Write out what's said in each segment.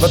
Wat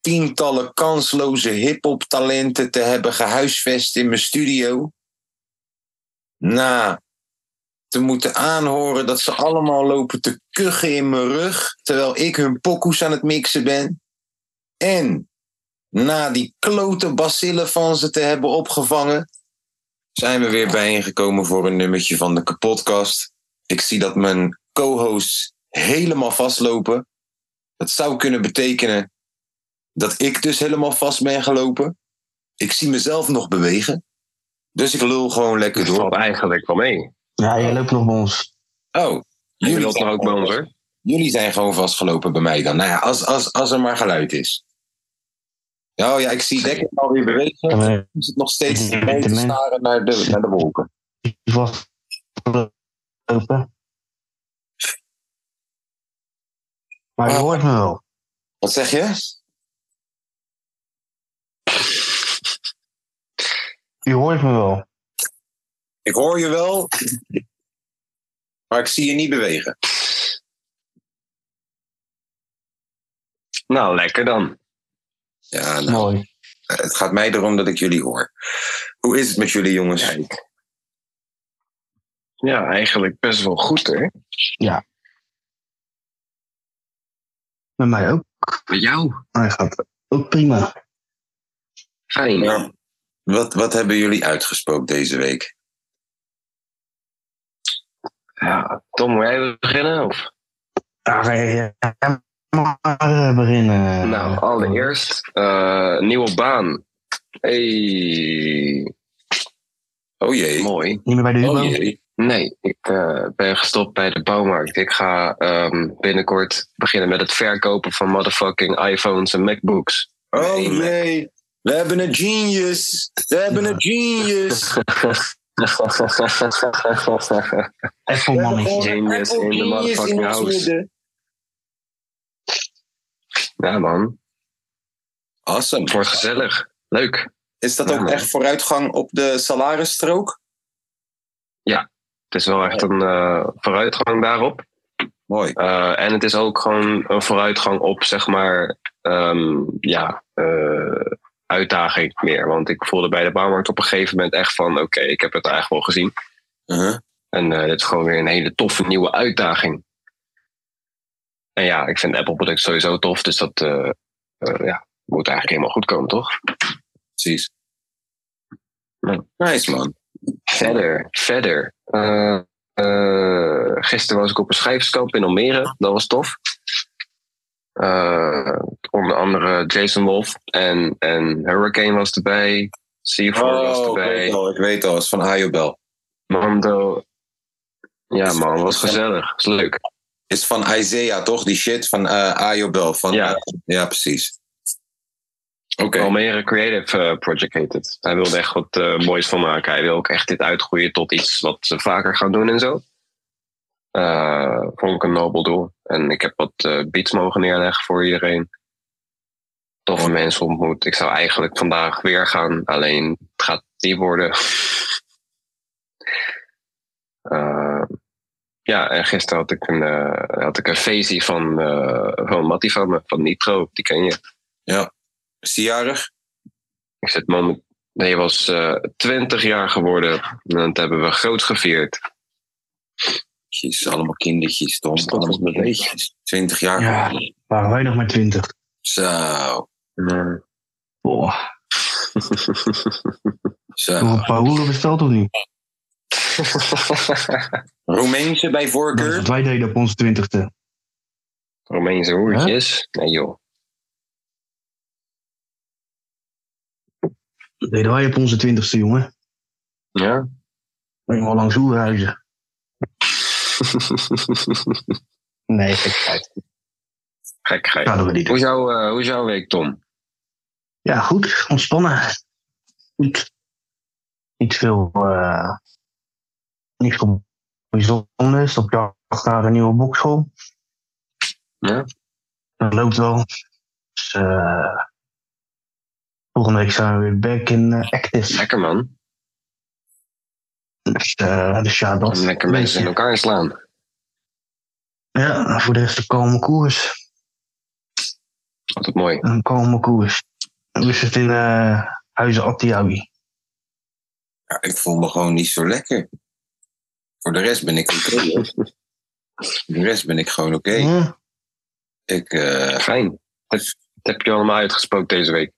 tientallen kansloze hip-hop talenten te hebben gehuisvest in mijn studio. Na Nou, te moeten aanhoren dat ze allemaal lopen te kuchen in mijn rug terwijl ik hun pokoes aan het mixen ben. En na die klote bacillen van ze te hebben opgevangen, zijn we weer bijeengekomen voor een nummertje van de kapotkast. Ik zie dat mijn co-hosts helemaal vastlopen. Dat zou kunnen betekenen dat ik dus helemaal vast ben gelopen. Ik zie mezelf nog bewegen. Dus ik lul gewoon lekker Het door. valt eigenlijk wel mee. Ja, jij loopt nog bij ons. Oh, Je loopt zijn nog ook bij ons hoor. Jullie zijn gewoon vastgelopen bij mij dan. Nou ja, als, als, als er maar geluid is. Oh ja, ik zie Dekker alweer bewegen. En we Is het nog steeds mee te staren naar de, naar de wolken? vastlopen. Maar je hoort me wel. Wat zeg je? Je hoort me wel. Ik hoor je wel, maar ik zie je niet bewegen. Nou, lekker dan. Ja, nou, Mooi. het gaat mij erom dat ik jullie hoor. Hoe is het met jullie jongens? Ja, eigenlijk best wel goed hè. Met mij ook. Met jou? Hij gaat ook prima. Fijn. Ja. Wat, wat hebben jullie uitgesproken deze week? Ja, Tom, moet jij beginnen? Of? Ja, ga je- ja, maar eh, beginnen. nou, allereerst, eh, nieuwe baan. Hey, Oh jee. mooi. Niet meer bij de Hugo? Oh jee. Nee, ik eh, ben gestopt bij de bouwmarkt. Ik ga ehm, binnenkort beginnen met het verkopen van motherfucking iPhones en MacBooks. Oh jee. We hebben een genius. We hebben een genius. Apple We hebben mannetje. gewoon een Genius in the Apple genius in motherfucking ons house. midden. ja man, het Awesome. wordt gezellig. Leuk. Is dat Ja, ook man. echt vooruitgang op de salarisstrook? Het is wel echt een eh, vooruitgang daarop. Mooi. Eh, en het is ook gewoon een vooruitgang op, zeg maar, ehm, ja, eh, uitdaging meer. Want ik voelde bij de bouwmarkt op een gegeven moment echt van, oké, ik heb het eigenlijk wel gezien. Uh-huh. En eh dit is gewoon weer een hele toffe nieuwe uitdaging. En ja, ik vind Apple producten sowieso tof, dus dat eh, eh, ja, moet eigenlijk helemaal goed komen, toch? Precies. Ja. Nice man. Verder, verder. Eh, eh, gisteren was ik op een schrijverskamp in Almere. Dat was tof. Eh, onder andere Jason Wolf en, en Hurricane was erbij. C4 was Oh, ik weet erbij. al, ik weet al. Het is van Ayobel. Mando. Ja Is- man, was gezellig. Is leuk. Is van Isaiah, toch? Die shit van eh Ayobel. Van, eh, Ja. ja, precies. Oh, Oké. Almere Creative eh, Project heet het. Hij wilde echt wat eh, moois van maken. Hij wil ook echt dit uitgroeien tot iets wat ze vaker gaan doen en zo. Eh vond ik een nobel doel. En ik heb wat eh, beats mogen neerleggen voor iedereen. Toffe mensen ontmoet. Ik zou eigenlijk vandaag weer gaan. Alleen het gaat die worden. Eh, ja, en gisteren had ik een, eh had ik een feestje van, eh van Mattie van me, van Nitro. Die ken je. Is die jarig? Ik zit moment. Nee, hij was eh 20 jaar geworden. En dat hebben we groot gevierd. Jezus, allemaal kindertjes, Tom. Stop eens met kindertjes. 20 jaar. Ja, waren wij nog maar twintig. Zo. Boah, Zo. een paar hoeren besteld of niet? Roemeense bij Dat is voorkeur. wat wij deden op onze twintigste. Romeinse hoertjes. Nee joh. Dat deden wij op onze twintigste, jongen. Ja? Helemaal langs hoerenhuizen. Nee, gekheid. Gek, gek. Zouden we die Hoe doen. is, jouw, eh, hoe is jouw week, Tom? Ja, goed. Ontspannen. Niet, niet veel. eh niet veel bijzonders. Op jacht naar een nieuwe bokschool. Ja. Dat loopt wel. Dus, eh, volgende week zijn we weer back in eh, active. Lekker, man. Dus, eh, dus ja, dat. Lekker een mensen in beetje. elkaar slaan. Ja, voor de rest een kalme koers. Altijd mooi. Een kalme koers. We zitten in eh, Huizen Attiawi. Ja, ik voel me gewoon niet zo lekker. Voor de rest ben ik oké. hoor. Voor de rest ben ik gewoon oké. Ja. Ik, eh, Fijn. Dat, dat heb je allemaal uitgesproken deze week.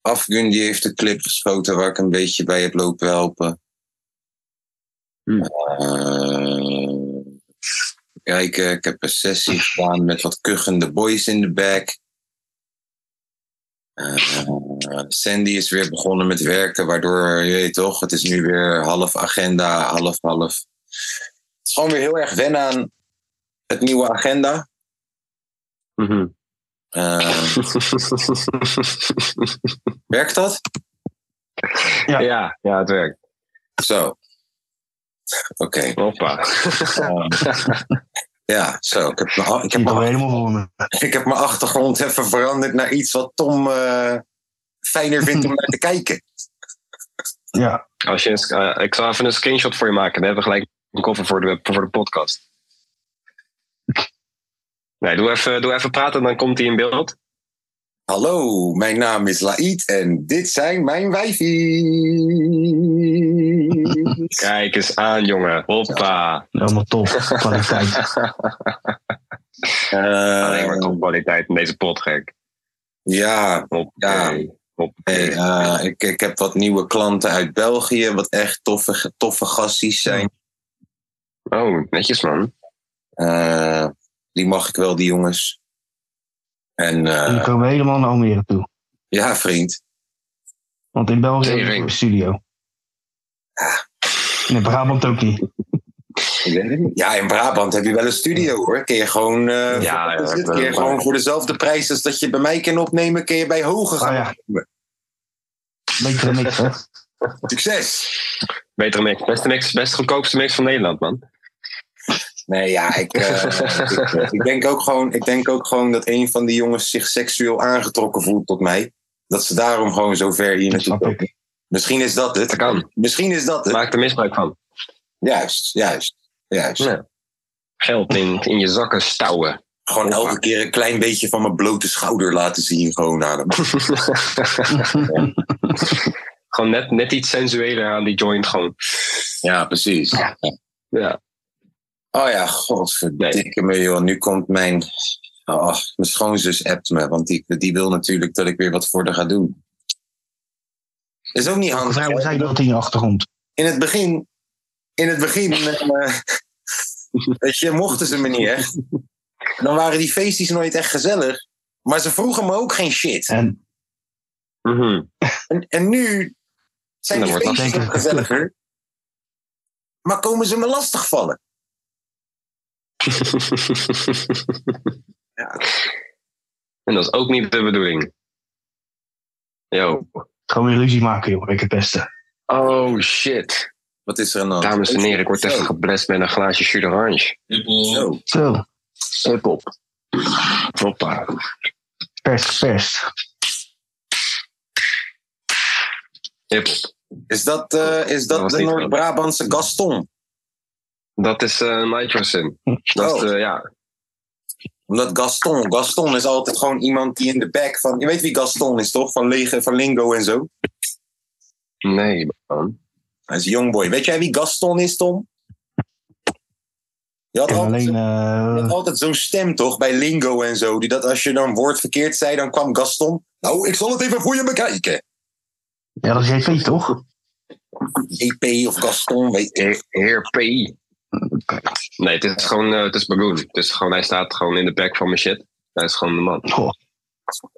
Afgun die heeft de clip geschoten waar ik een beetje bij heb lopen helpen. Hmm. Eh, kijk, eh, ik heb een sessie gedaan met wat kuchende boys in de back. Eh, Sandy is weer begonnen met werken, waardoor, je weet toch, het is nu weer half agenda, half half. Het is gewoon weer heel erg wennen aan het nieuwe agenda. Mhm. Eh, werkt dat? ja. Ja, het werkt. Zo. Oké. Hoppa. Ja, zo. Ik heb, mijn- ik, heb Ik ben mijn, helemaal voor me. ik heb mijn achtergrond even veranderd naar iets wat Tom eh, fijner vindt om naar te kijken. Ja, Als je, een- eh, ik zal even een screenshot voor je maken. Dan hebben we gelijk een koffer voor de, voor de podcast. Nee, doe even, doe even praten, dan komt hij in beeld. Hallo, mijn naam is Laït en dit zijn mijn wijfies. Kijk eens aan, jongen. Hoppa. helemaal top. Kwaliteit. Alleen maar Eh, topkwaliteit in deze pot, gek. ja, Hoppakee. nee, Hoppakee. eh, ik, ik heb wat nieuwe klanten uit België, wat echt toffe, toffe gasties zijn. Oh, netjes, man. Eh, die mag ik wel, die jongens. En En dan eh, komen we helemaal naar Almere toe. ja, vriend. Want in België Tering. is een studio. Ah. En in Brabant ook niet. Ja, in Brabant heb je wel een studio hoor. Kun je gewoon, eh, Ja, voor, ja, wat is het? ik Kun je ben- gewoon voor dezelfde prijs als dat je bij mij kan opnemen, kun je bij Hoge Ah gaan. ja. Beter dan niks, hè? Succes! Betere mix. Beste mix. Best goedkoopste mix van Nederland, man. Nee, ja, ik, eh, ik, ik denk ook gewoon, ik denk ook gewoon dat een van die jongens zich seksueel aangetrokken voelt tot mij. Dat ze daarom gewoon zo ver hier Dat naartoe snap komen. ik. Misschien is dat Dat het. kan. Misschien is dat het. Maak er misbruik van. Juist, juist, juist. Ja. Geld in, in je zakken stouwen. Gewoon elke keer een klein beetje van mijn blote schouder laten zien. Gewoon aan hem. Gewoon net, net iets sensueler aan die joint gewoon. Ja, precies. Ja. Oh ja, godverdikke me joh. Nu komt mijn... Oh, mijn schoonzus appt me, want die, die wil natuurlijk dat ik weer wat voor haar ga doen. Is ook niet handig. Vrouwen hè? zijn dat in je achtergrond. In het begin, in het begin, eh, weet je, mochten ze me niet echt. Dan waren die feestjes nooit echt gezellig. Maar ze vroegen me ook geen shit. En Mhm. En, en nu zijn Dan die wordt dat feestjes ook zeker gezelliger. Maar komen ze me lastigvallen? En dat is ook niet de bedoeling. Yo. gewoon weer ruzie maken, joh. Ik het beste. Oh shit. Wat is er aan de hand? Dames en heren, ik word Zo, even geblest met een glaasje jus d'orange. Zo. Zo, Hip hop. Hoppa. pers, pers. Hip hop. Is dat, eh, is Dat dat, was de niet goed. Noord-Brabantse Gaston? Dat is eh nitrosin. Dat is, Oh. eh, ja. Omdat Gaston, Gaston is altijd gewoon iemand die in de back van... Je weet wie Gaston is, toch? Van, Lege, van Lingo en zo. Nee, man. Hij is een jongboy. Weet jij wie Gaston is, Tom? Je had En altijd, alleen, zo- je had eh altijd zo'n stem, toch? Bij Lingo en zo. Die dat als je dan een woord verkeerd zei, dan kwam Gaston. Nou, ik zal het even voor je bekijken. ja, dat is JP toch? EP of Gaston, weet ik. Heer- Heer P. Nee, het is gewoon, eh, het is Bagoon. Het is gewoon, hij staat gewoon in de back van mijn shit. Hij is gewoon de man. Goh,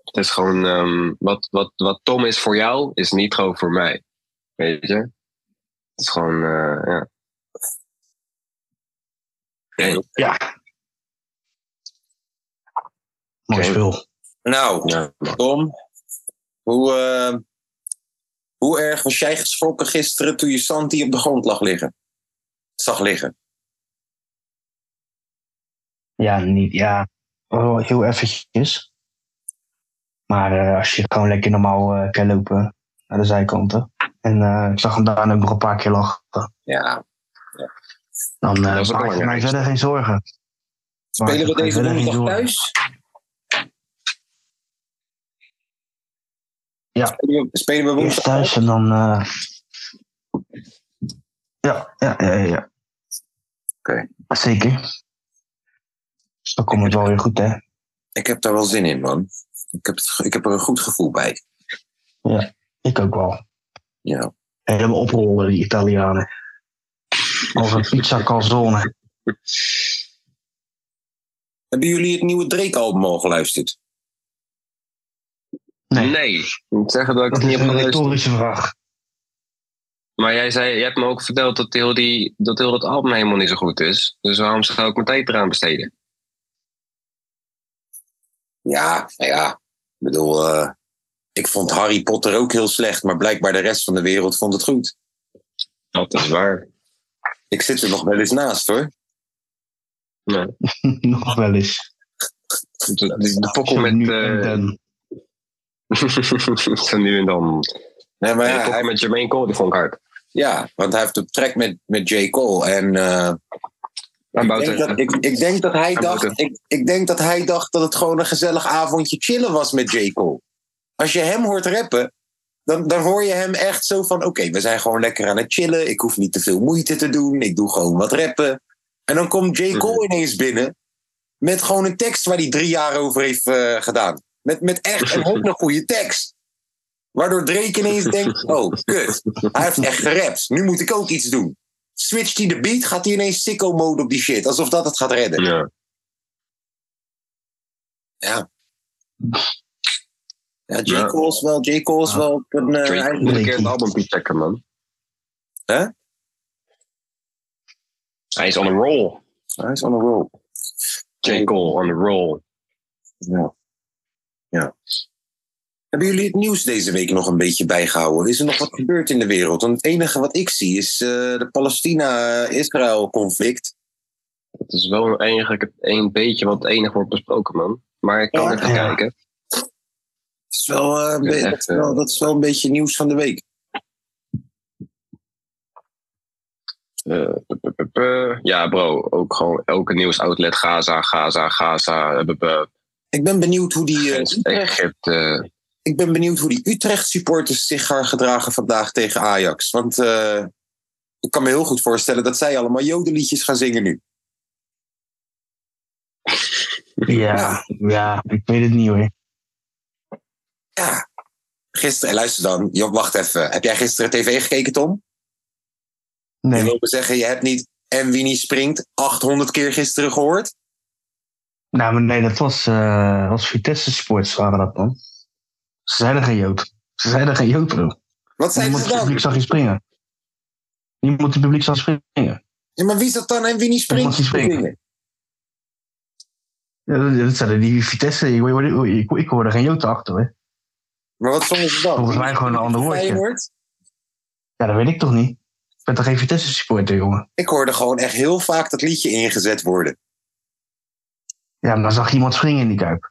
Het is gewoon, ehm, wat, wat, wat Tom is voor jou, is niet gewoon voor mij. Weet je? Het is gewoon, eh, ja. ja. Nou, Ja. Tom, hoe, eh, hoe erg was jij geschrokken gisteren toen je Santi op de grond lag liggen? Zag liggen. Ja, niet, ja, wel heel eventjes. Maar eh, als je gewoon lekker normaal eh, kan lopen naar de zijkanten. En eh, ik zag hem daarna ook nog een paar keer lachen. Ja. Dan eh, Dat is het maak je mij belangrijkste. verder geen zorgen. Maak je Spelen we mij deze verder geen woensdag zorgen. thuis? Ja. Spelen we, spelen we Eerst woensdag thuis en dan... eh, Ja, ja, ja, ja. ja. Oké. Zeker. Dus dan komt het wel weer goed, hè? Ik heb daar wel zin in, man. Ik heb, het- ik heb er een goed gevoel bij. Ik ook wel. Ja. Helemaal oprollen, die Italianen. Als een pizza calzone. Hebben jullie het nieuwe Drake-album al geluisterd? Nee. Nee. Ik moet zeggen dat ik Dat het is niet heb een geluisterd. retorische vraag. Maar jij, zei, jij hebt me ook verteld dat heel, die, dat heel dat album helemaal niet zo goed is. Dus waarom zou ik mijn tijd eraan besteden? Ja, nou ja. Ik bedoel, eh, ik vond Harry Potter ook heel slecht, maar blijkbaar de rest van de wereld vond het goed. Dat is waar. Ik zit er nog wel eens naast, hoor. Nog wel eens. De, de, de pokkel Zo met... nu en eh, dan. Zo nu en dan. Nee, maar Maar ja, hij- met Jermaine Cole, die vond ik hard. ja, want hij heeft een track met, met J. Cole. En eh, En ik, denk dat, ik, ik, denk dat hij Hij dacht, moet ik, ik denk dat hij dacht dat het gewoon een gezellig avondje chillen was met J. Cole. Als je hem hoort rappen, dan, dan hoor je hem echt zo van... Oké, we zijn gewoon lekker aan het chillen. Ik hoef niet te veel moeite te doen. Ik doe gewoon wat rappen. En dan komt J. Cole ineens binnen met gewoon een tekst waar hij drie jaar over heeft eh, gedaan. Met, met echt een hele goede tekst. Waardoor Drake ineens denkt, oh, kut. Hij heeft echt gerapt. Nu moet ik ook iets doen. Switcht hij de beat, gaat hij ineens sicko-mode op die shit. Alsof dat het gaat redden. Ja. Ja, J. Ja. Cole is wel, J. Cole is wel een... eh, Drake, eigen- moet een keer het Drake. album checken, man. Hè? Hij is on a roll. Hij is on a roll. J. Cole, on a roll. Ja. ja. Hebben jullie het nieuws deze week nog een beetje bijgehouden? Is er nog wat gebeurd in de wereld? Want het enige wat ik zie is eh, de Palestina-Israël-conflict. Het is wel eigenlijk het een beetje wat enig wordt besproken, man. Maar ik kan Ja. even Ja. kijken. Dat is wel, eh, een Ja, be- echt, dat is wel- eh. dat is wel een beetje nieuws van de week. Eh, pu- pu- pu- pu. ja, bro. Ook gewoon elke nieuwsoutlet. Gaza, Gaza, Gaza. eh, pu- pu. Ik ben benieuwd hoe die, eh, Grens Utrecht, Egypte. ik ben benieuwd hoe die Utrecht-supporters zich gaan gedragen vandaag tegen Ajax. Want eh, ik kan me heel goed voorstellen dat zij allemaal jodenliedjes gaan zingen nu. Ja, ja, ik weet het niet hoor. Ja. Gisteren, eh, luister dan, Jo, wacht even. Heb jij gisteren tv gekeken, Tom? Je Nee. wil me zeggen, je hebt niet en wie niet springt 800 keer gisteren gehoord? Nou, maar nee, dat was, eh was Vitesse Sports, waren dat dan. Ze zeiden geen Jood. Ze zeiden geen Jood, bro. Wat zijn Niemand ze het publiek dan? zag je springen. Niemand het publiek zag springen. Ja, maar wie is dat dan en wie niet springt? Niemand die springt. Dingen. Ja, dat- dat zeiden die Vitesse. Ik, hoorde- ik, ik hoorde geen Jood achter, hè. Maar wat zongen ze dan? Volgens mij gewoon een ander woordje. Feyenoord? Ja, dat weet ik toch niet. Ik ben toch geen Vitesse supporter, jongen. Ik hoorde gewoon echt heel vaak dat liedje ingezet worden. Ja, maar dan zag je iemand springen in die kuip.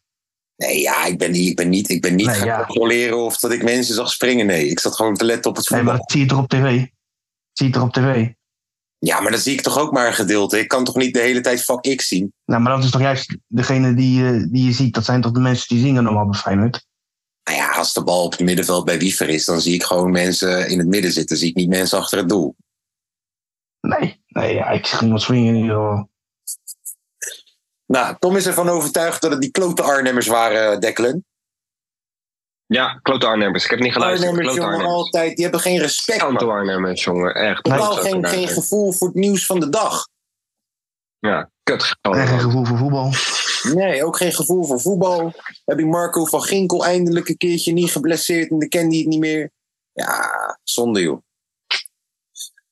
Nee, ja, ik ben niet, ik ben niet, ik ben niet Nee, gaan ja. controleren of dat ik mensen zag springen. Nee, ik zat gewoon te letten op het Nee, voetbal. maar dat zie je toch op tv? Dat zie je toch op tv? Ja, maar dan zie ik toch ook maar een gedeelte. Ik kan toch niet de hele tijd fuck ik zien? Nou, maar dat is toch juist degene die, eh, die je ziet. Dat zijn toch de mensen die zingen normaal bij Feyenoord? Nou ja, als de bal op het middenveld bij Wiever is, dan zie ik gewoon mensen in het midden zitten. Zie ik niet mensen achter het doel. Nee, nee ja, ik zag niemand springen in ieder geval. Nou, Tom is ervan overtuigd dat het die klote Arnhemmers waren, eh, Declan. Ja, klote Arnhemmers. Ik heb niet geluisterd. Arnhemmers, Klote jongen, Arnhemmers. altijd. Die hebben geen respect. man. Kanto Arnhemmers, jongen. Echt. Totaal klote geen, geen Arnhemmers. gevoel voor het nieuws van de dag. Ja, kut. Oh. En geen gevoel voor voetbal. Nee, ook geen gevoel voor voetbal. Heb ik Marco van Ginkel eindelijk een keertje niet geblesseerd en dan kende hij het niet meer. Ja, zonde joh.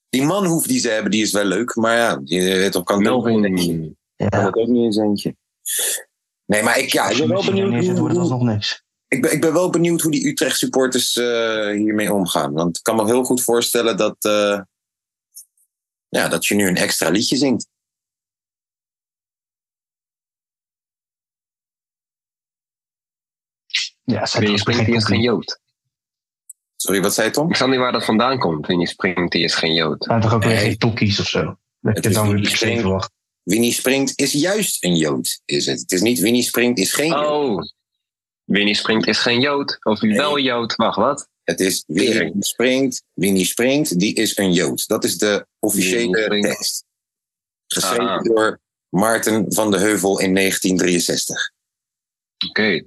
Die manhoef die ze hebben, die eh, is wel leuk. Maar ja, je weet op kan Melvin. Ja. ook niet eens eentje. Nee, maar ik, ja, ik Als je ben wel met je benieuwd neerzet, hoe, wordt dat hoe- nog niks. ik ben, ik ben wel benieuwd hoe die Utrecht supporters eh, hiermee omgaan. Want ik kan me heel goed voorstellen dat, eh, ja, dat je nu een extra liedje zingt. Ja, het zijn Winnie toch geen springt die is geen compliment. Jood. Sorry, wat zei je, Tom? Ik snap niet waar dat vandaan komt. Winnie springt die is geen Jood. Het zijn toch ook weer Nee. geen tokkies of zo. Dat Het je is dan weer niet per se iedereen. verwacht. Winnie Springt is juist een Jood, is het. Het is niet Winnie Springt is geen Jood. Oh, Winnie springt is geen Jood. Of Nee. wel Jood. Wacht, wat? Het is Winnie Tering. Springt, Winnie Springt, die is een Jood. Dat is de Winnie officiële Springt. tekst. Geschreven Ah. door Maarten van de Heuvel in 1963. Oké.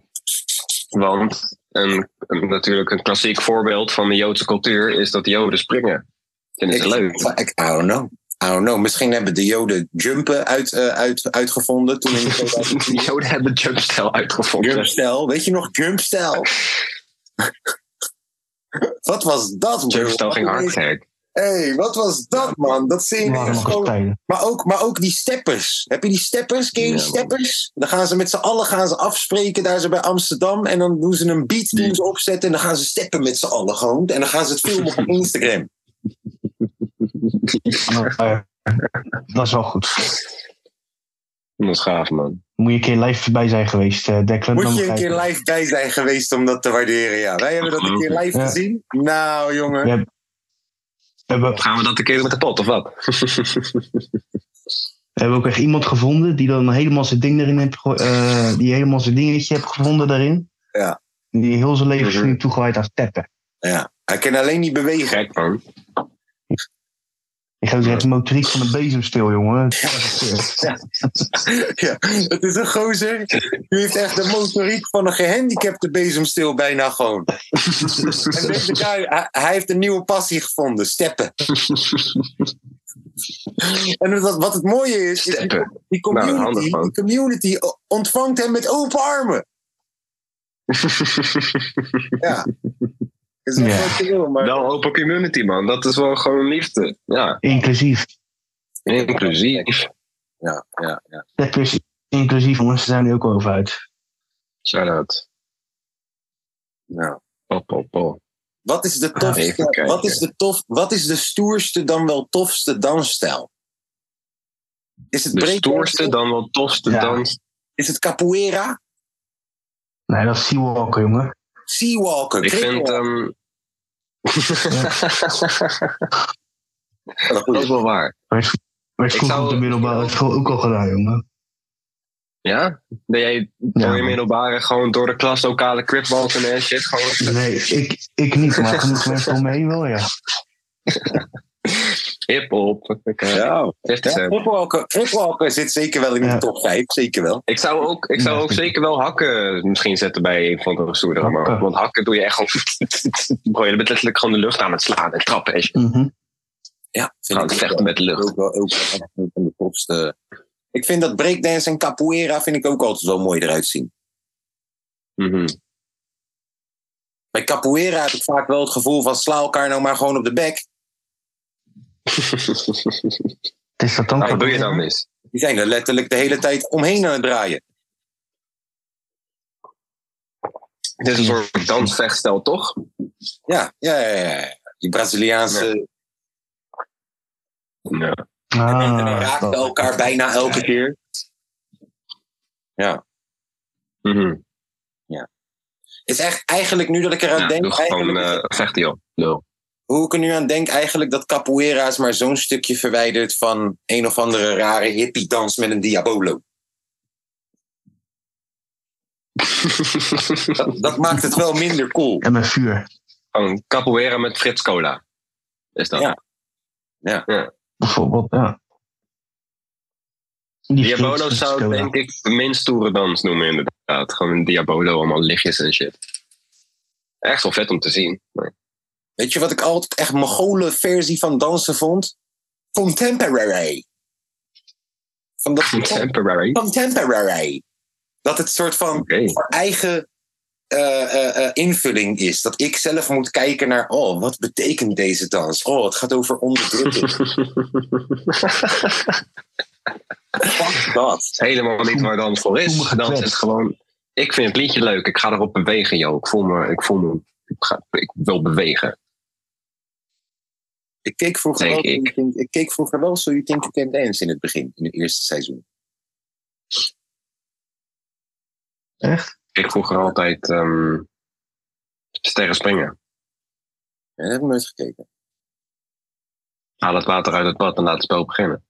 Want een, een- natuurlijk een klassiek voorbeeld van de Joodse cultuur is dat de Joden springen. Vinden ze leuk. Ik, I don't know. I don't know. Misschien hebben de Joden jumpen uit, eh, uit, uitgevonden toen in De 2004. Joden hebben jumpstijl uitgevonden. Jumpstijl, weet je nog Jumpstijl? wat was dat, bro? Jumpstijl ging hard gek. hey, wat was dat, man? Dat zie je Die waren ineens nog eens gewoon spelen. Maar ook, maar ook die steppers. Heb je die steppers? Ken je die Ja, man. steppers? Dan gaan ze met z'n allen gaan ze afspreken daar ze bij Amsterdam. En dan doen ze een beat doen ze opzetten. En dan gaan ze steppen met z'n allen gewoon. En dan gaan ze het filmen op Instagram. Maar, eh, Dat is wel goed. Dat is gaaf, man. Moet je een keer live bij zijn geweest, eh Declan. Moet dan je een begrijp keer live bij zijn geweest om dat te waarderen? Ja, wij hebben dat een keer live Ja. gezien. Nou, jongen. Ja. We hebben, Gaan we dat een keer met de pot, of wat? we hebben ook echt iemand gevonden die dan helemaal zijn ding erin heeft gegooid. eh, die helemaal zijn dingetje heeft gevonden daarin. Ja. Die heel zijn leven is Mhm. nu toegewijd aan steppen. Hij kan alleen niet bewegen. Gek, man. Ik ga het motoriek van de bezem stil, jongen. Ja, het is een gozer. Die heeft echt de motoriek van een gehandicapte bezemstil bijna gewoon. En deze guy, hij, hij heeft een nieuwe passie gevonden. Steppen. En wat, wat het mooie is, is die, Steppen. die Nou, community, handig, man. die community ontvangt hem met open armen. Ja. Dat is wel Ja. wat je wil, maar... Wel open community, man. Dat is wel gewoon liefde. Ja, Inclusief. inclusief. Ja, ja, ja. Steppers, inclusief, jongens, daar zijn nu ook wel over uit. Shout-out. Nou. Pop, pop, pop. Wat is de Ah, even tofste, kijken. wat is de tof, wat is de stoerste dan wel tofste dansstijl? Is het De breakdansen? stoerste, dan wel tofste Ja. dans. Is het capoeira? Nee, dat is seawalken, jongen. Seawalken. Ik vind... crickwalken. ehm, dat is wel waar. Werd Ik vroeger zou- op de middelbare school ook al gedaan, jongen. Ja? Dat jij Ja, door je man. middelbare gewoon door de klas lokale cripwalken en shit gewoon... Nee, ik, ik niet, maar genoeg mensen om me heen wel, ja. Hip-hop. Ja, 50 ja, cent. crickwalken- crickwalken zit zeker wel in de Ja. top 5, zeker wel. Ik zou ook, ik zou Ja, ook vind ik. zeker wel hakken misschien zetten bij een van de stoerdere Hakken. mannen. Want hakken doe je echt gewoon... Bro, je bent letterlijk gewoon de lucht aan het slaan en trappen. En je Mhm. Ja, vind gaat ik vechten ook met de wel. lucht. Ook wel, ook wel echt een van de topste. Ik vind dat breakdance en capoeira vind ik ook altijd wel mooi eruit zien. Mhm. Bij capoeira heb ik vaak wel het gevoel van sla elkaar nou maar gewoon op de bek. Het is dat dan Nou, wat doe je capoeira? dan mis? Die zijn er letterlijk de hele tijd omheen aan het draaien. Het is een soort dansvechtstel, toch? Dus, Ja, ja, ja, ja. Die Braziliaanse. eh, Ja. En dan Ah, raakten dat- elkaar bijna elke keer. Mhm. Is echt eigenlijk nu dat ik eraan Ja, denk. doe gewoon eigenlijk- eh vecht die op. Lul. hoe ik er nu aan denk, eigenlijk dat capoeira is maar zo'n stukje verwijderd van een of andere rare hippie dans met een diabolo. Dat, dat maakt het wel minder cool. En met vuur. Gewoon capoeira met Frits Cola. Is dat? Ja. Ja. Bijvoorbeeld, ja. Die Diabolo Frits- zou ik Cola. denk ik de minst stoere dans noemen inderdaad. Gewoon een Diabolo, allemaal lichtjes en shit. Echt wel vet om te zien. Maar Weet je wat ik altijd echt mogole versie van dansen vond? Contemporary. Van dat Contemporary. contemporary. Dat het soort van Oké. voor eigen eh, eh, eh, invulling is. Dat ik zelf moet kijken naar, oh, wat betekent deze dans? Oh, het gaat over onderdrukking. Fuck dat. Helemaal niet waar dans voor is. Dans is gewoon. Ik vind het liedje leuk. Ik ga erop bewegen, joh. Ik voel me. Ik, voel me, ik, ga, ik wil bewegen. Ik keek vroeger, Denk wel, ik. ik. Think, ik keek vroeger wel So You Think You Can Dance in het begin, in het eerste seizoen. Echt? Ik vroeger altijd ehm, sterren springen. Ja, dat heb ik nooit gekeken. Haal het water uit het bad en laat het spel beginnen.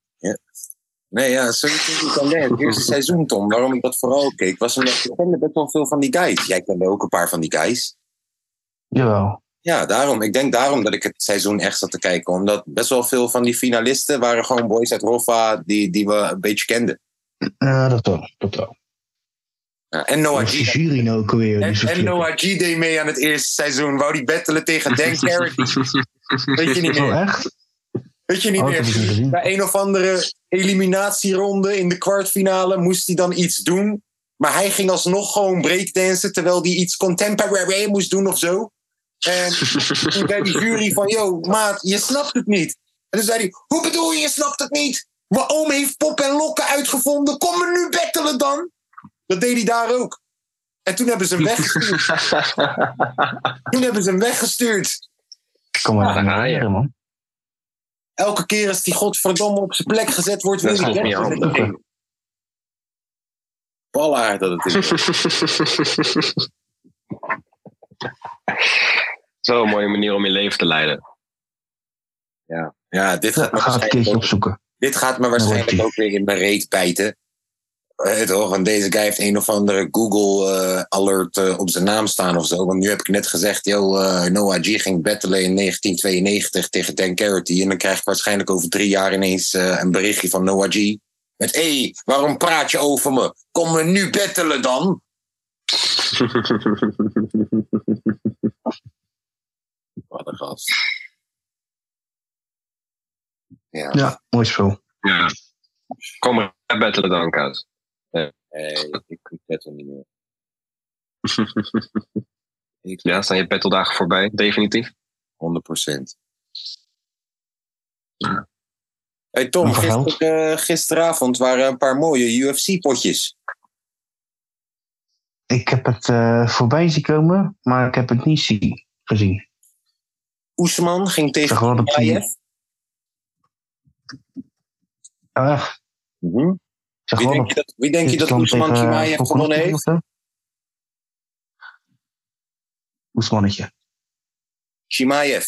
Nee, ja, So You Think You Can Dance, het eerste seizoen, Tom. Waarom ik dat vooral keek, was omdat ik kende best wel veel van die guys. Jij kende ook een paar van die guys. Jawel. Ja, daarom. Ik denk daarom dat ik het seizoen echt zat te kijken. Omdat best wel veel van die finalisten waren gewoon boys uit Roffa die, die we een beetje kenden. Ja, dat wel. Dat wel. Oh, Ja, en Noah Wat die G. jury nou ook weer? En, en oh, Noah G deed mee aan het eerste seizoen. Wou die battelen tegen Dan Carrick. Weet je niet meer. echt? Weet je niet Oh, dat heb ik niet meer. gezien. Bij een of andere eliminatieronde in de kwartfinale moest hij dan iets doen. Maar hij ging alsnog gewoon breakdansen terwijl hij iets contemporary moest doen of zo. En toen zei die jury van, yo, maat, je snapt het niet. En toen zei hij, hoe bedoel je, je snapt het niet? Mijn oom heeft pop en lokken uitgevonden, kom me nu bettelen dan. Dat deed hij daar ook. En toen hebben ze hem weggestuurd. toen hebben ze hem weggestuurd. Ik kan me Ah, Ja, dat niet daar ga je. herinneren, man. Elke keer als die godverdomme op zijn plek gezet wordt, wil Dat hij is niet weg. handig. Ballaard dat het is. Zo'n mooie manier om je leven te leiden. Ja, dit gaat me Ik ga het waarschijnlijk, een keertje ook, opzoeken. dit gaat me waarschijnlijk Rocky. ook weer in mijn reet bijten. Eh, toch? Want deze guy heeft een of andere Google eh, alert eh, op zijn naam staan of zo. Want nu heb ik net gezegd, yo, eh, Noah G ging battelen in 1992 tegen Dan Carity. En dan krijg ik waarschijnlijk over drie jaar ineens eh, een berichtje van Noah G. Met, hé, hey, waarom praat je over me? Kom me nu battelen dan? Wat een gast. Ja. Ja, mooi spel. ja. Kom maar, bettelen dan, Kaas. Nee, ik, ik bettel niet meer. ik, Ja, zijn je battledagen voorbij? Definitief? 100%. Ja. Hey Tom, Hoeveel geld? gister, eh, gisteravond waren een paar mooie UFC-potjes. Ik heb het eh, voorbij zien komen, maar ik heb het niet zien, gezien. Oesman ging Ik tegen zag wel dat die... Kamaev. Oh, echt? Mhm. Ik zag Wie wel denk dat je dat, wie denk je dat Rusland Oesman tegen, eh, Kimaev gewonnen Volkanovski heeft? of zo? Oesmannetje. Chimaev.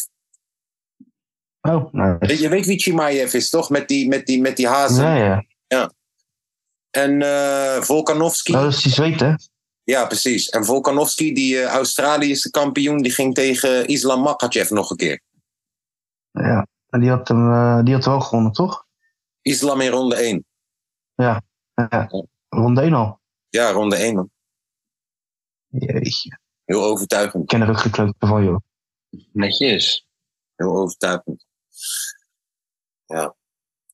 Oh, nou, Je, je weet wie Chimaev is, toch? Met die, met die, met die hazen. ja, ja. En eh Volkanovski. Nou, dat is die zweet, hè? Ja, precies. En Volkanovski, die eh, Australische kampioen, die ging tegen Islam Makhachev nog een keer. Ja. En die had, hem, eh, die had wel gewonnen, toch? Islam in ronde 1. Ja. Ronde 1 al. Ja, ronde 1, man. Jeetje. Heel overtuigend. Ik ken er ook gekleuten van, joh. Netjes. Heel overtuigend. Ja. Het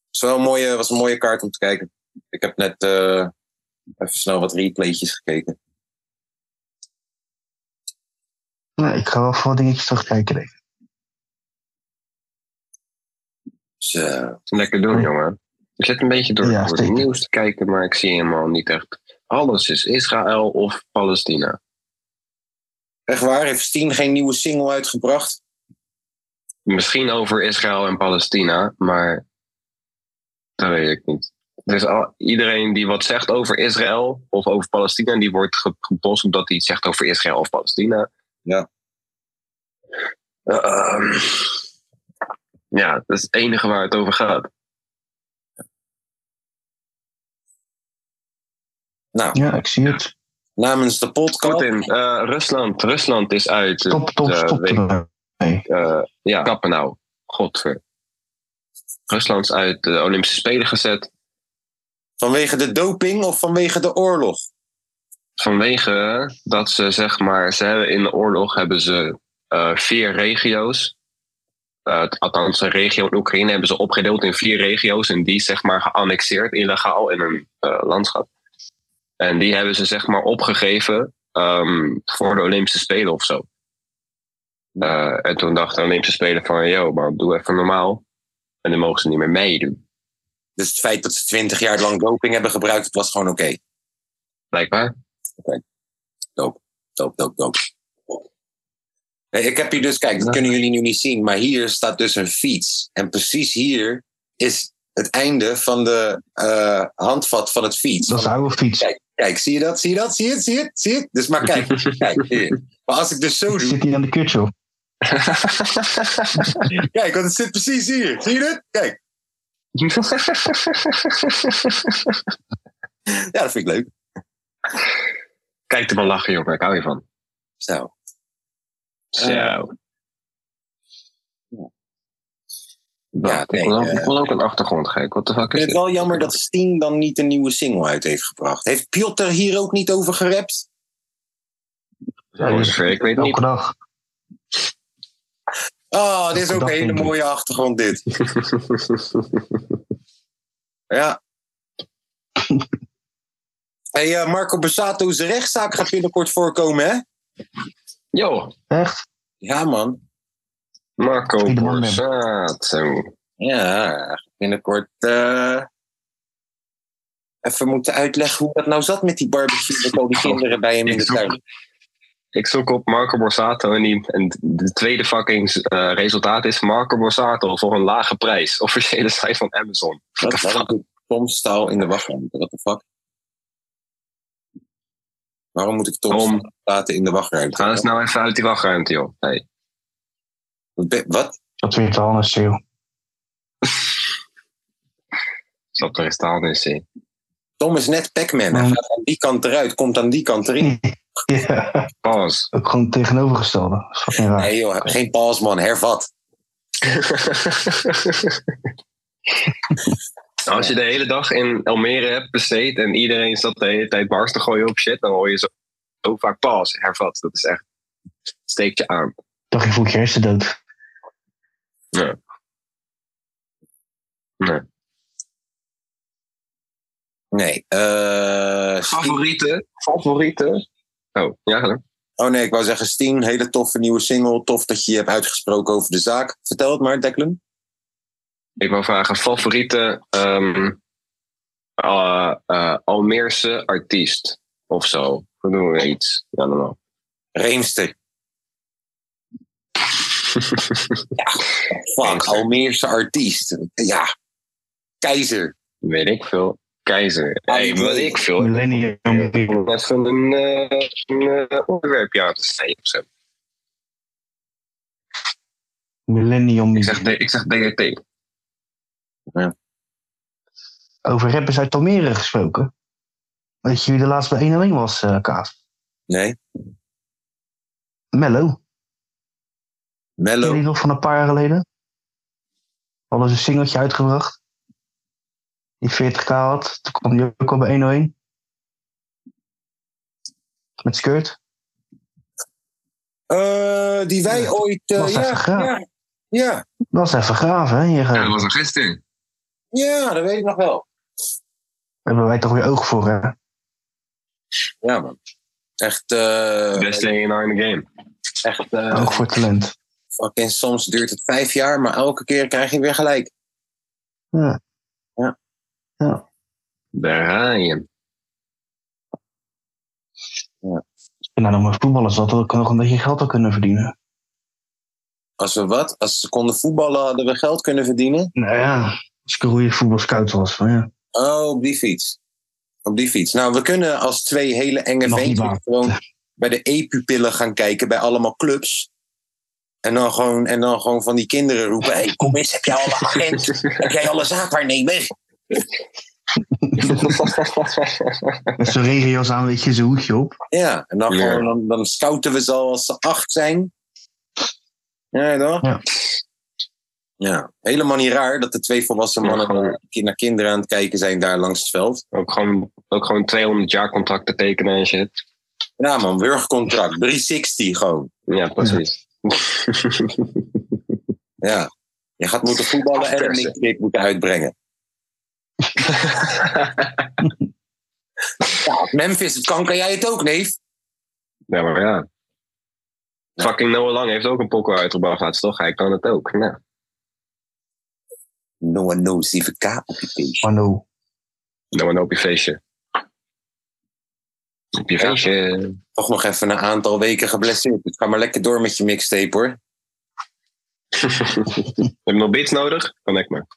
was wel een mooie, was een mooie kaart om te kijken. Ik heb net eh, even snel wat replaytjes gekeken. Nee, ik ga wel voor wat dingetjes terugkijken, denk ik. Dus, eh, Lekker doen, jongen. Ik zit een beetje door, Ja, door het zeker. nieuws te kijken, maar ik zie helemaal niet echt. Alles is Israël of Palestina. echt waar, heeft Steen geen nieuwe single uitgebracht? Misschien over Israël en Palestina, maar dat weet ik niet. Dus al, iedereen die wat zegt over Israël of over Palestina, die wordt ge- gebost omdat hij iets zegt over Israël of Palestina. Ja. Ehm, ja, dat is het enige waar het over gaat. Nou, Ja, ik zie het. namens de podcast. Kortom, eh, Rusland, Rusland is uit. Top, top, Eh, stop weet- erbij. eh, ja, kappen nou. Godver. Rusland is uit de Olympische Spelen gezet. Vanwege de doping of vanwege de oorlog? vanwege dat ze zeg maar, ze hebben in de oorlog hebben ze eh, vier regio's. Eh, althans, een regio in Oekraïne hebben ze opgedeeld in vier regio's en die zeg maar geannexeerd illegaal in een eh, landschap. En die hebben ze zeg maar opgegeven ehm, voor de Olympische Spelen of zo. Eh, en toen dachten de Olympische Spelen van, yo, maar doe even normaal. En dan mogen ze niet meer meedoen. Dus het feit dat ze twintig jaar lang doping hebben gebruikt, het was gewoon oké. Blijkbaar. Doop, doop, doop. Nee, Ik heb hier dus, kijk, dat kunnen jullie nu niet zien, maar hier staat dus een fiets. En precies hier is het einde van de eh, handvat van het fiets. Dat is de oude fiets. Kijk, kijk, zie je dat? Zie je dat? Zie je het? Zie je het? Zie je het? Dus maar kijk, kijk. hier. Maar als ik dus zo doe, Zit hier aan de kutje op. kijk, want het zit precies hier. Zie je het? Kijk. Ja, dat vind ik leuk. Kijk er maar lachen, jongen. Ik hou je van. Zo. Zo. Eh, Nou, ja, nee, ik, wil ook, eh. ik wil ook een achtergrond gek. Wat de fuck Ik is vind dit? het wel jammer dat Steen dan niet een nieuwe single uit heeft gebracht. Heeft Piotr hier ook niet over gerapt? Voor zover ik weet Elke niet. dag. Oh, dit is ook Dat een hele vind ik. mooie achtergrond, dit. Ja. Hey, eh, Marco Borsato, zijn rechtszaak gaat binnenkort voorkomen, hè? Yo, Echt? Ja, man. Marco Spiderman. Borsato. Ja, binnenkort eh, even moeten uitleggen hoe dat nou zat met die barbecue. Met al die kinderen bij hem in de Ik zoek- tuin. Ik zoek op Marco Borsato en, die, en de tweede fucking eh, resultaat is Marco Borsato voor een lage prijs. Officiële site van Amazon. Dat was een Tom-staal in de wachtruimte. What the fuck? Waarom moet ik Tom Tom, laten in de wachtruimte? ga eens nou even uit die wachtruimte, joh. Hey. Be- Wat? Dat weet al een sale. Snap er eens taal in zien. Tom is net Pac-Man. Hij Mm. gaat aan die kant eruit, komt aan die kant erin. Ja, Pas. ook gewoon het tegenovergestelde. Dat is fucking raar. Nee joh, geen paas man, hervat. Nou, Als je de hele dag in Almere hebt besteed en iedereen zat de hele tijd bars te gooien op shit, dan hoor je zo, zo vaak pas hervat. Dat is echt steek je aan. Dacht je voelt je hersen dood. Nee. eh, Favorieten? Favorieten? Oh, ja, hallo. oh nee, ik wou zeggen Steen, hele toffe nieuwe single. Tof dat je je hebt uitgesproken over de zaak. Vertel het maar, Declan. Ik wou vragen, favoriete ehm eh, eh, Almeerse artiest of zo? Hoe noemen we iets? Ja, dan wel. Reemster. Fuck, Reemster. Almeerse artiest. Ja. Keizer. Weet ik veel. Keizer. Hey, weet ik veel. Ik Millennium. bedoel, Net van een, eh, een eh, onderwerpje aan te snijden of zo. Millennium. Ik zeg, D- ik zeg DRT. Over rappers uit Almere gesproken. Weet je wie de laatste bij 1 alleen was, eh Kaas? Nee. Mello. Ken je Mello. die nog van een paar jaar geleden? Hadden ze een singeltje uitgebracht. Die 40k had. Toen kwam die ook al bij 101. Met Skirt. Eh, die wij Ja. ooit... eh, Was dat ja, gegaan? ja, ja. Dat is even graaf, hè? Hier eh, was nog gisteren. Ja, dat weet ik nog wel. hebben wij toch weer oog voor, hè? Ja man. Echt... eh, Best Oh. A&R in the game. echt eh, Oog voor talent. fucking soms duurt het vijf jaar, maar elke keer krijg je weer gelijk. Daar ga je. hem. En nou, dan maar voetballers dat we nog een beetje geld al kunnen verdienen. Als we wat? Als ze konden voetballen, hadden we geld kunnen verdienen. Nou ja, als ik een goede voetbalscout was. Maar ja. Oh, op die fiets. Op die fiets. Nou, we kunnen als twee hele enge Mag niet ventjes waar. gewoon bij de e-pupillen gaan kijken bij allemaal clubs. En dan gewoon, en dan gewoon van die kinderen roepen: hey, kom eens, heb jij alle agent? heb jij alle zaakwaarnemer? Met zo'n regenjas aan, weet je, zo'n hoedje op. Ja, en dan, Ja. gewoon, dan, dan scouten we ze al als ze acht zijn. Ja, toch? Ja. Ja, helemaal niet raar dat de twee volwassen Ja, mannen gewoon- naar- naar kinderen aan het kijken zijn daar langs het veld. Ook gewoon, ook gewoon 200 jaar contracten tekenen en shit. Ja man, burgercontract, 360 gewoon. Ja, precies. Ja. Je gaat moeten voetballen en een Afpersen. mixtape moeten uitbrengen. Ja, als Memphis het kan, kan jij het ook, neef? Ja, maar ja. Fucking Noah Lang heeft ook een pokoe uitgebracht laatst, toch? Hij kan het ook. Nou, Noah No 7K op je feestje. Maar nou, Dan maar nou op je feestje. Op je Ja. feestje. Toch nog even een aantal weken geblesseerd. Ik ga maar lekker door met je mixtape hoor. Heb je nog beats nodig? Kan ik maar.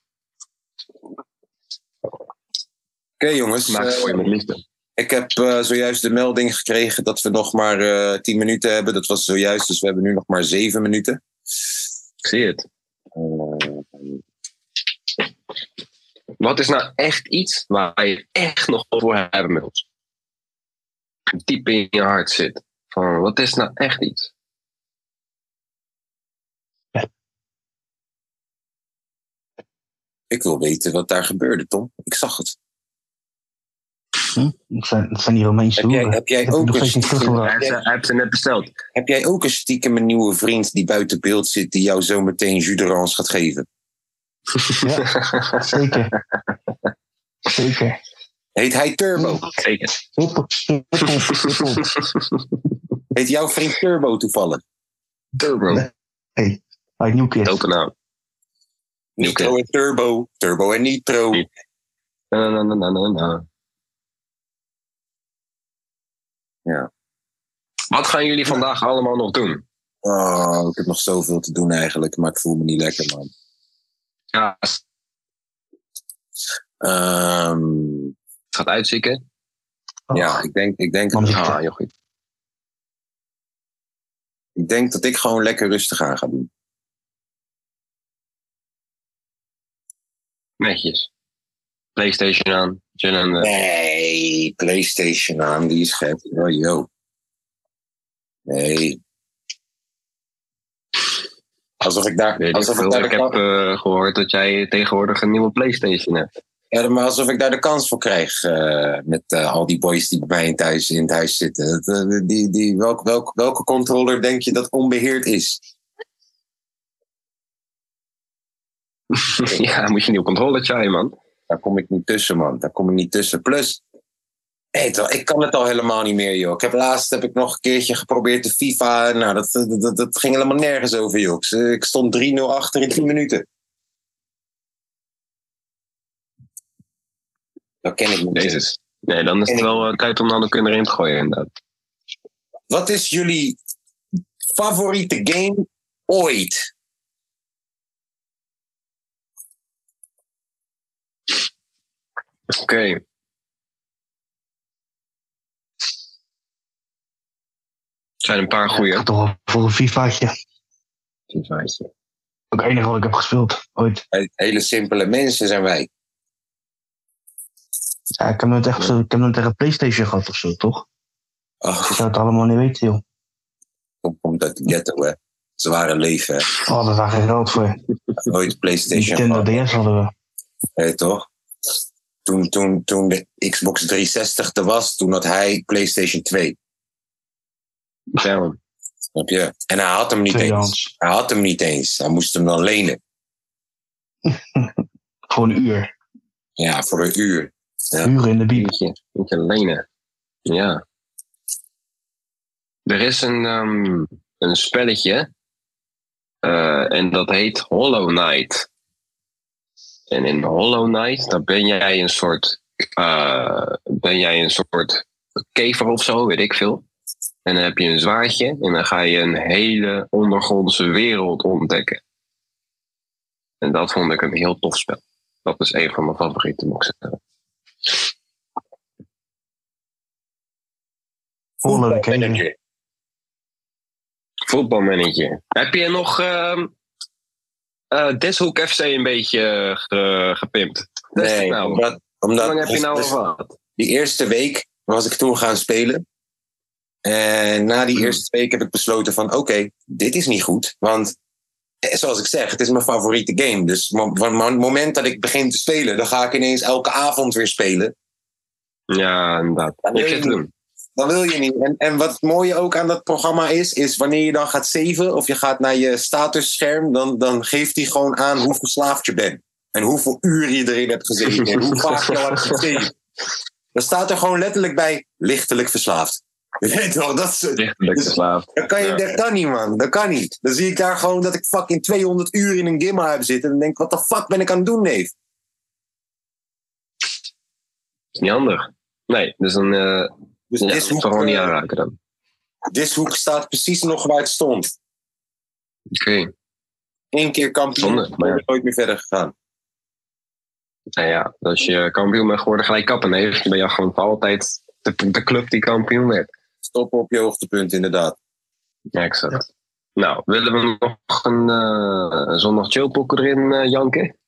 Oké jongens, Maak het eh, voor je met liefde. ik heb eh, zojuist de melding gekregen dat we nog maar eh 10 minuten hebben. Dat was zojuist, dus we hebben nu nog maar 7 minuten. Ik zie het. Eh, Wat is nou echt iets waar je echt nog voor hebben met ons? Diep in je hart zit. Van, wat is nou echt iets? ik wil weten wat daar gebeurde, Tom. Ik zag het. het zijn, het zijn die Romeinse Heb jij, hoeren. heb jij Dat heb ik ook nog een steeds niet stiekem- teruggebracht. Hij heeft heb- ze- hij heeft ze net besteld. heb jij ook een stiekem een nieuwe vriend die buiten beeld zit, die jou zometeen juderans gaat geven? Zeker. Zeker. Heet hij Turbo? Zeker. Huppel, huppel, huppel. Heet jouw vriend Turbo toevallig? Turbo. Nee. Uit Nieuwkeer. Dope nou. naam. Nitro en Turbo. Turbo en Nitro. Na, na, na, na, na, na. Ja. Wat gaan jullie vandaag allemaal nog doen? Oh, ik heb nog zoveel te doen eigenlijk, maar ik voel me niet lekker, man. Ja, het Ehm, gaat uitzieken. Oh. ja, ik denk, ik, denk, Man, Ah, heel goed. ik denk dat ik gewoon lekker rustig aan ga doen. Netjes. Playstation aan. Chillen. eh, Nee, PlayStation aan, die is gek. Oh, yo. Nee. Alsof ik daar. Weet ik Alsof ik veel. daar ik de heb kan- eh, gehoord dat jij tegenwoordig een nieuwe Playstation hebt. Ja, maar alsof ik daar de kans voor krijg. eh, met eh, al die boys die bij mij in, thuis, in het huis zitten. Dat, eh, die, die, welk, welk, welke controller denk je dat onbeheerd is? ja, dan moet je een nieuw controletje aan, man. Daar kom ik niet tussen, man. Daar kom ik niet tussen. Plus, weet je wel, ik kan het al helemaal niet meer, joh. Ik heb laatst heb ik nog een keertje geprobeerd de FIFA. Nou, dat, dat, dat, dat ging helemaal nergens over, joh. Ik- eh, Ik stond 3-0 achter in 10 minuten. Dat ken ik niet. Jezus. Nee, dan is het wel eh, tijd om dan ook erin te gooien, inderdaad. Wat is jullie favoriete game ooit? Oké. Het zijn een paar goeie. Toch wel voor een FIFA'tje. Ook het enige wat ik heb gespeeld ooit. Hele simpele mensen zijn wij. Ja, ik heb nooit echt, zo- ik heb nooit echt een Playstation gehad of zo, toch? Oh, Ik zou het allemaal niet weten, joh. komt kom uit de ghetto, hè. Zware leven, hè. Oh, daar was geen geld voor. Nooit PlayStation. Nintendo gehad. DS hadden we. Weet je toch? Toen, toen, toen de Xbox 360 er was, toen had hij PlayStation 2. Damn. Snap je? En hij had hem niet eens. Tweedehands. Hij had hem niet eens. Hij moest hem dan lenen. Gewoon een uur. Ja, voor een uur. Ja. Uren in de bieb. Eentje, eentje lenen. Ja. Er is een, ehm, een spelletje. eh, en dat heet Hollow Knight. En in Hollow Knight, dan ben jij een soort. eh, ben jij een soort kever of zo, weet ik veel. En dan heb je een zwaardje. En dan ga je een hele ondergrondse wereld ontdekken. En dat vond ik een heel tof spel. Dat is een van mijn favorieten, moet ik zeggen. Hollow Knight. Voetbalmanager. Heb je nog ehm eh Dishoek FC een beetje eh, ge- gepimpt? Dat is het Nee, nou. omdat, Hoe omdat lang heb je nou al dus gehad? die eerste week was ik toen gaan spelen. En na die Hmm. eerste week heb ik besloten van oké, dit is niet goed. Want eh, zoals ik zeg, het is mijn favoriete game. Dus mo- van het moment dat ik begin te spelen, dan ga ik ineens elke avond weer spelen. Ja, inderdaad. Ja, Je hebt nee, het te doen. Dan wil je niet. En, en wat het mooie ook aan dat programma is, is wanneer je dan gaat saven of je gaat naar je statusscherm, dan, dan geeft hij gewoon aan hoe verslaafd je bent. En hoeveel uren je erin hebt gezeten. En hoe vaak je al hebt gespeeld. Dan staat er gewoon letterlijk bij lichtelijk verslaafd. Je weet toch, dat, is- Lichtelijk geslaafd. dat, kan je, Ja. dat kan niet, man. Dat kan niet. Dan zie ik daar gewoon dat ik fucking 200 uur in een gimma heb zitten. En dan denk ik, wat de fuck ben ik aan het doen, neef? Is niet handig. Nee, dus dan eh Dus ja, dit, dat hoek, toch gewoon niet eh, aanraken dan. dit hoek staat precies nog waar het stond. Oké, Eén keer kampioen, Zonde, maar- maar nooit meer verder gegaan. nou ja, als je kampioen bent geworden gelijk kappen heeft, dan ben je gewoon voor altijd de, de club die kampioen werd. Stoppen op je hoogtepunt, inderdaad. Ja, exact. Nou, willen we nog een eh, zondag chillpoker erin eh, janken?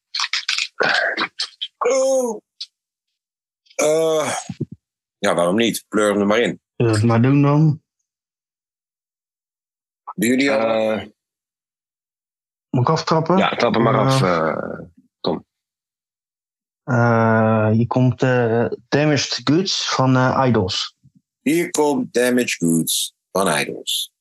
Oh. Eh, ja, waarom niet? Pleur hem er maar in. Zullen we het maar doen dan? Doen jullie al... Eh, Moet ik aftrappen? ja, trap hem maar Ja. af. eh. Eh, hier komt eh, Damaged Goods van eh, Idols. Hier komt Damage Goods van Idols.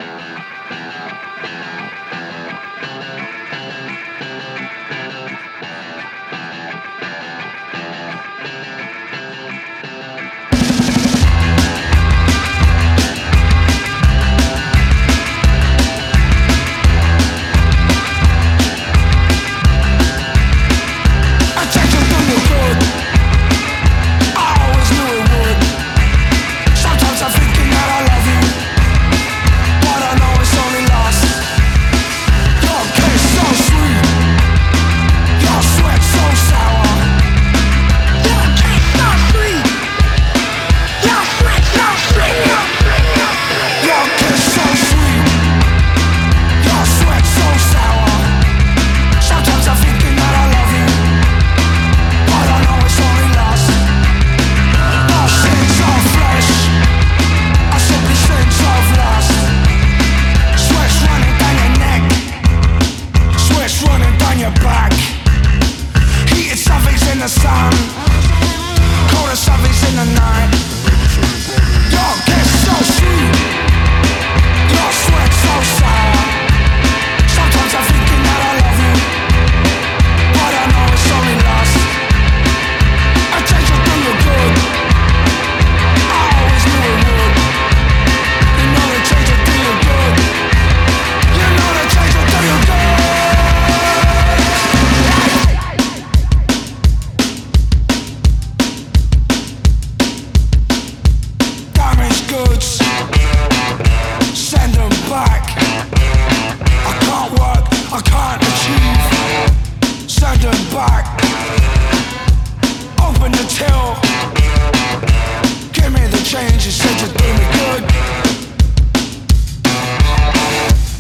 Sometimes I'm thinking that I love you But I know it's only lust Our sins are flesh Our simply sins of lust Sweat's running down your neck Sweat's running down your back Heated something's in the sun Cold as something's in the night Your kiss so sweet Your sweat so sour Sometimes I'm thinking that I love you But I know it's only lust I changed your thing for good I always knew it would You know they changed your thing for good You know they changed your thing for good Damaged goods Send them back I can't work, I can't achieve Send them back Open the till Give me the change, you said you do me good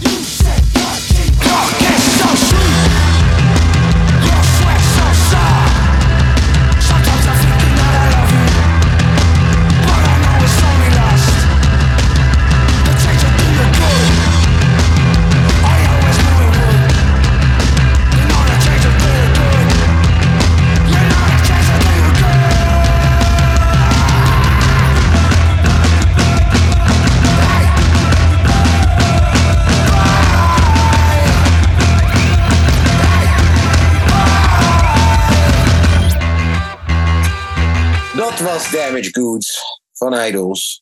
You said that you can't get so sweet Your sweat so sour Sometimes I'm thinking that I love you But I know it's only lust The change you do me good I always knew it would You know the change you do me good You know the change you do me good Dat was Damage Goods van Idols.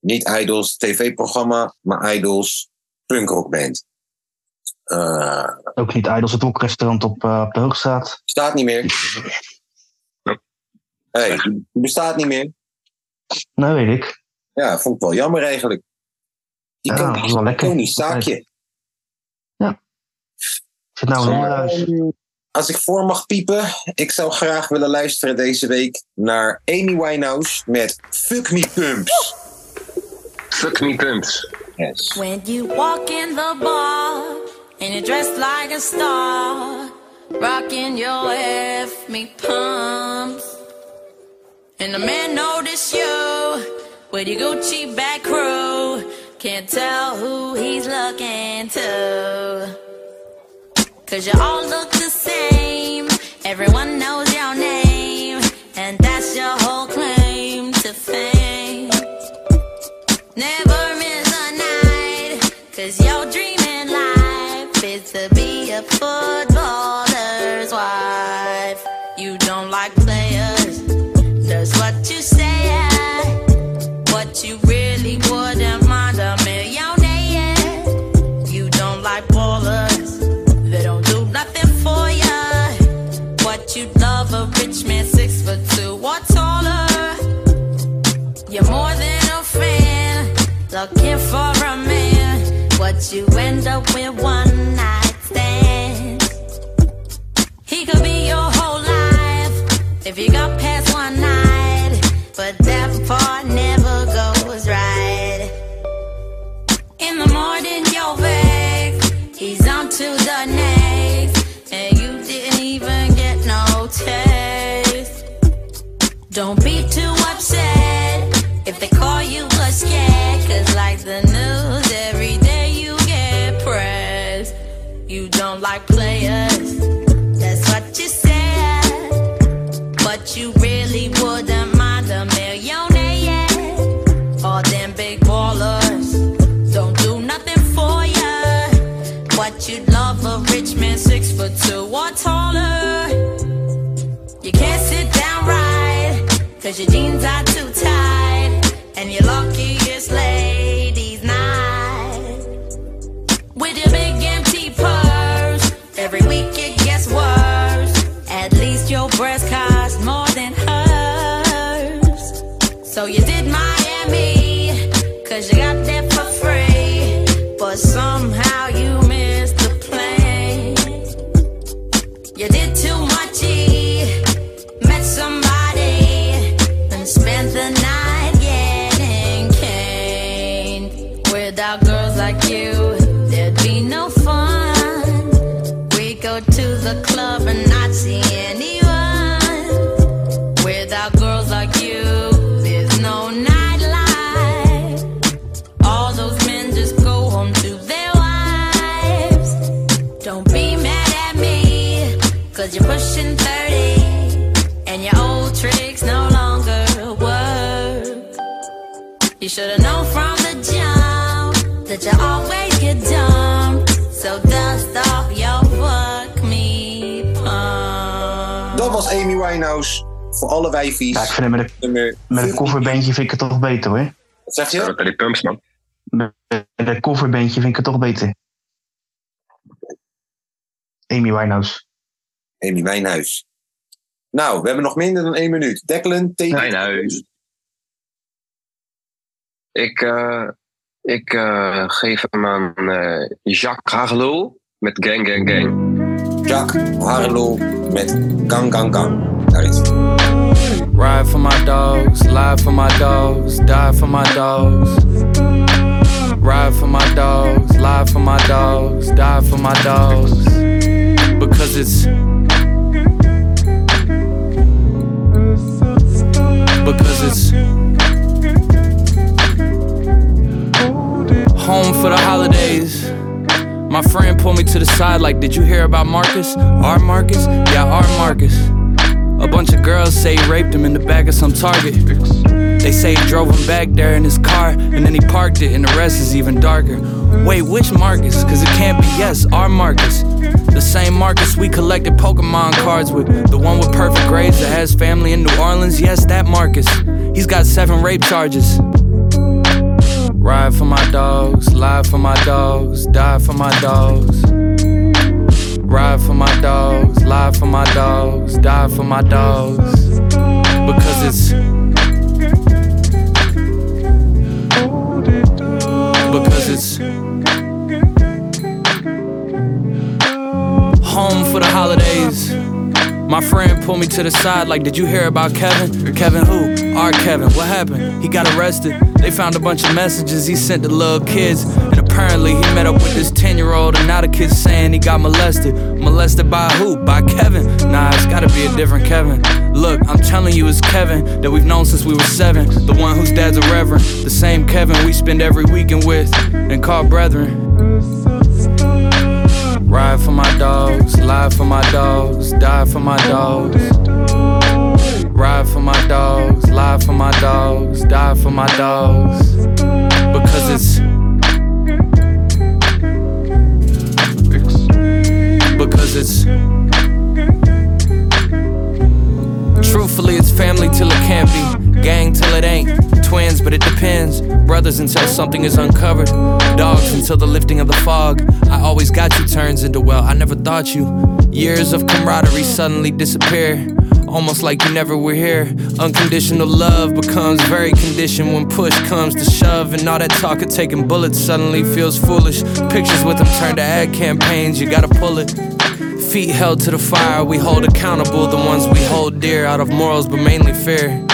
Niet Idols tv-programma, maar Idols punkrockband. Eh Ook niet Idols, het wokrestaurant op, eh, op de Hoogstraat. bestaat niet meer. Ja. Hey, die bestaat niet meer. Nou, weet ik. Ja, vond ik wel jammer eigenlijk. Die Ja, dat is wel lekker. Tony, zaakje. Ik zit nou in een huis. Ehm, Als ik voor mag piepen, ik zou graag willen luisteren deze week naar Amy Winehouse met Fuck Me Pumps. Fuck me pumps. Yes. When you walk in the bar and you're dressed like a star, rocking your F me pumps, and the man notice you with your Gucci back crew, can't tell who he's looking to. Cause you all look the same, everyone knows your name, and that's your whole claim to fame. Never miss a night, cause your dreaming life is to be a footballer's wife. You don't like players, that's what you say, what you really want. Looking for a man, what you end up with one night stand. He could be your whole life if you got past one night, but that part never goes right. In the morning, you're back. He's on to the next, and you didn't even get no taste. Don't be too upset if they call you a scared, cause like the news, every day you get pressed. You don't like players, that's what you said. But you really wouldn't mind a millionaire. All them big ballers don't do nothing for ya. What you'd love a rich man six foot two or taller. You can't sit down right, cause your jeans are too tight. And you're lucky it's ladies' night. With your big empty purse, every week it gets worse. At least your breast cost more than hers. So you did Miami, cause you got that for free. But somehow you missed the plane. You did too much, E, met somebody, and spent the night getting caned. Without girls like you, there'd be no fun. We go to the club and not see anyone. Without girls like you, there's no nightlife. All those men just go home to their wives. Don't be mad at me, cause you're pushing 30 and your old tricks no longer work. You should've known from the jump that you always get dumped. So dust off your fuck me pump. Dat was Amy Winehouse. Voor alle Ja, ik wijfies. vind het met, Nummer- een, met een kofferbeentje vind ik het toch beter hoor. Wat zegt je? Ja, bij die pumps, man. Met een kofferbeentje vind ik het toch beter. Amy Winehouse. Amy Wijnhuis. Nou, we hebben nog minder dan één minuut. Declan, tegen... Wijnhuis. Ik, eh, ik eh, geef hem aan eh, Jacques Hagelul met Gang Gang Gang. Jacques Harlow met Gang Gang Gang. Daar is het. Ride for my dogs, lie for my dogs, die for my dogs. Ride for my dogs, lie for my dogs, die for my dogs. Because it's. Because it's. Home for the holidays. My friend pulled me to the side, like, did you hear about Marcus? Our Marcus? Yeah, our Marcus. A bunch of girls say he raped him in the back of some Target. They say he drove him back there in his car, and then he parked it, and the rest is even darker. Wait, which Marcus? Cause it can't be yes, our Marcus. The same Marcus we collected Pokemon cards with. The one with perfect grades that has family in New Orleans, yes, that Marcus. He's got seven rape charges. Ride for my dogs, lie for my dogs, die for my dogs. Ride for my dogs, lie for my dogs, die for my dogs. Because it's. Because it's. Home for the holidays. My friend pulled me to the side, like, did you hear about Kevin? Kevin who? Our Kevin. What happened? He got arrested. They found a bunch of messages he sent to little kids. And apparently he met up with this 10 year old, and now the kid's saying he got molested. Molested by who? By Kevin. Nah, it's gotta be a different Kevin. Look, I'm telling you, it's Kevin that we've known since we were seven. The one whose dad's a reverend. The same Kevin we spend every weekend with and call brethren. Ride for my dogs, lie for my dogs, die for my dogs. Ride for my dogs, lie for my dogs, die for my dogs. Because it's. Because it's. Truthfully, it's family till it can't be. Gang till it ain't. Twins, but it depends. Brothers until something is uncovered. Dogs until the lifting of the fog. I always got you turns into well, I never thought you. Years of camaraderie suddenly disappear. Almost like you never were here. Unconditional love becomes very conditioned when push comes to shove. And all that talk of taking bullets suddenly feels foolish. Pictures with them turn to ad campaigns, you gotta pull it. Feet held to the fire, we hold accountable the ones we hold dear out of morals, but mainly fear.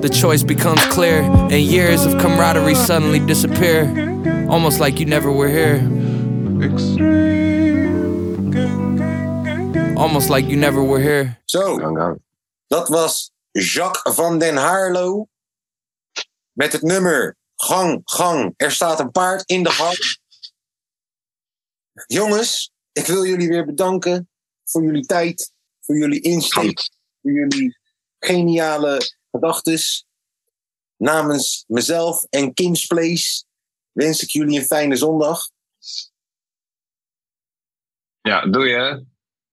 The choice becomes clear, and years of camaraderie suddenly disappear. Almost like you never were here. Almost like you never were here. Zo, Gang, gang. dat was Jacques van den Haarlo. Met het nummer Gang, gang, er staat een paard in de gang. Jongens, ik wil jullie weer bedanken voor jullie tijd, voor jullie insteek, voor jullie geniale gedachtes. Namens mezelf en Kim's Place wens ik jullie een fijne zondag. Ja, doe je.